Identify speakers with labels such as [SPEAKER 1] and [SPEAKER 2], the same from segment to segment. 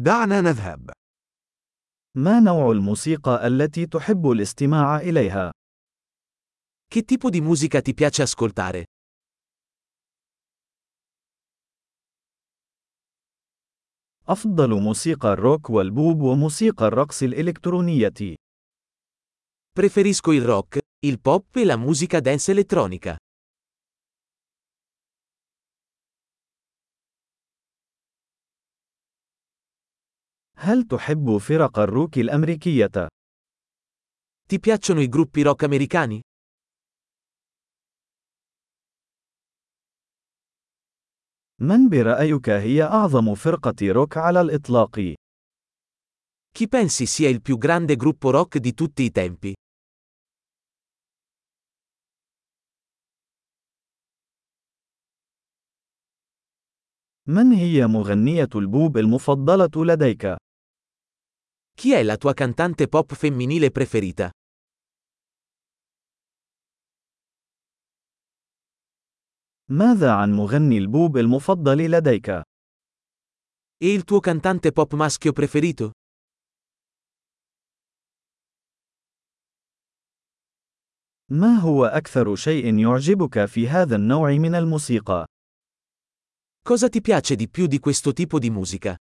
[SPEAKER 1] دعنا نذهب.
[SPEAKER 2] ما نوع الموسيقى التي تحب الاستماع إليها؟
[SPEAKER 3] Che tipo di musica ti piace ascoltare?
[SPEAKER 2] أفضل موسيقى الروك والبوب وموسيقى الرقص الإلكترونية.
[SPEAKER 3] Preferisco il rock, il pop e la musica dance elettronica.
[SPEAKER 2] هل تحب فرق الروك الأمريكية؟
[SPEAKER 3] Ti piacciono i gruppi rock americani?
[SPEAKER 2] من برأيك هي أعظم فرقة روك على الإطلاق؟
[SPEAKER 3] Chi pensi sia il più grande gruppo rock di tutti i tempi?
[SPEAKER 2] من هي مغنية البوب المفضلة لديك؟
[SPEAKER 3] Chi è la tua cantante pop femminile preferita?
[SPEAKER 2] ماذا عن مغني البوب المفضل لديك؟
[SPEAKER 3] E il tuo cantante pop maschio preferito?
[SPEAKER 2] ما هو أكثر شيء يعجبك في هذا النوع من الموسيقى؟
[SPEAKER 3] Cosa ti piace di più di questo tipo di musica?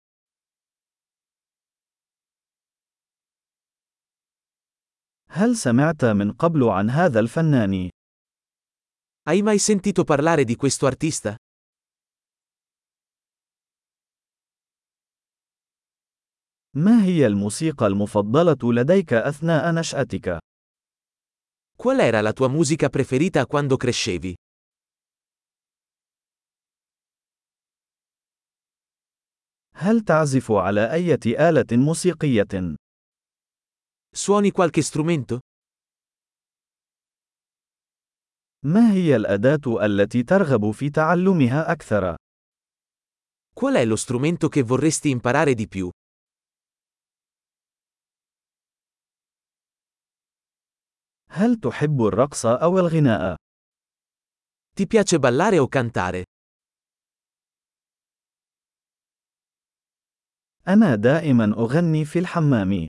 [SPEAKER 2] هل سمعت من قبل عن هذا الفنان؟
[SPEAKER 3] Hai mai sentito parlare di questo artista?
[SPEAKER 2] ما هي الموسيقى المفضلة لديك أثناء نشأتك؟
[SPEAKER 3] Qual era la tua musica preferita quando crescevi?
[SPEAKER 2] هل تعزف على أية آلة موسيقية؟
[SPEAKER 3] Suoni qualche strumento?
[SPEAKER 2] ما هي الأداة التي ترغب في تعلمها أكثر؟
[SPEAKER 3] Qual è lo strumento che vorresti imparare di più?
[SPEAKER 2] هل تحب الرقص أو الغناء؟
[SPEAKER 3] Ti piace ballare o cantare?
[SPEAKER 2] أنا دائما أغني في الحمام.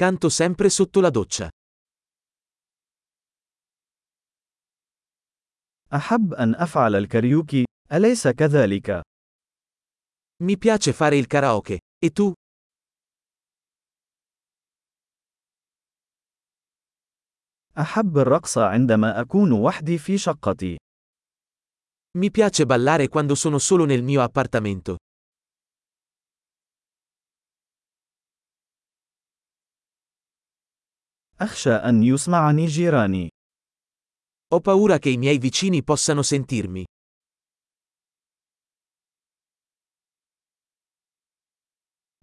[SPEAKER 3] Canto sempre sotto la doccia.
[SPEAKER 2] أحب أن أفعل الكاريوكي، أليس كذلك؟
[SPEAKER 3] Mi piace fare il karaoke. E tu?
[SPEAKER 2] أحب الرقص عندما أكون وحدي في شقتي.
[SPEAKER 3] Mi piace ballare quando sono solo nel mio appartamento.
[SPEAKER 2] أخشى أن يسمعني جيراني.
[SPEAKER 3] Ho paura che i miei vicini possano sentirmi.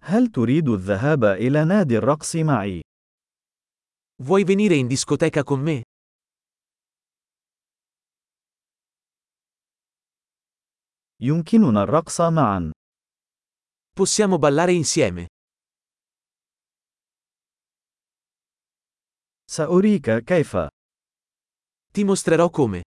[SPEAKER 2] هل تريد الذهاب إلى نادي الرقص معي؟
[SPEAKER 3] Vuoi venire in discoteca con me?
[SPEAKER 2] يمكننا الرقص معا.
[SPEAKER 3] Possiamo ballare insieme.
[SPEAKER 2] سأريك كيف.
[SPEAKER 3] Ti mostrerò come.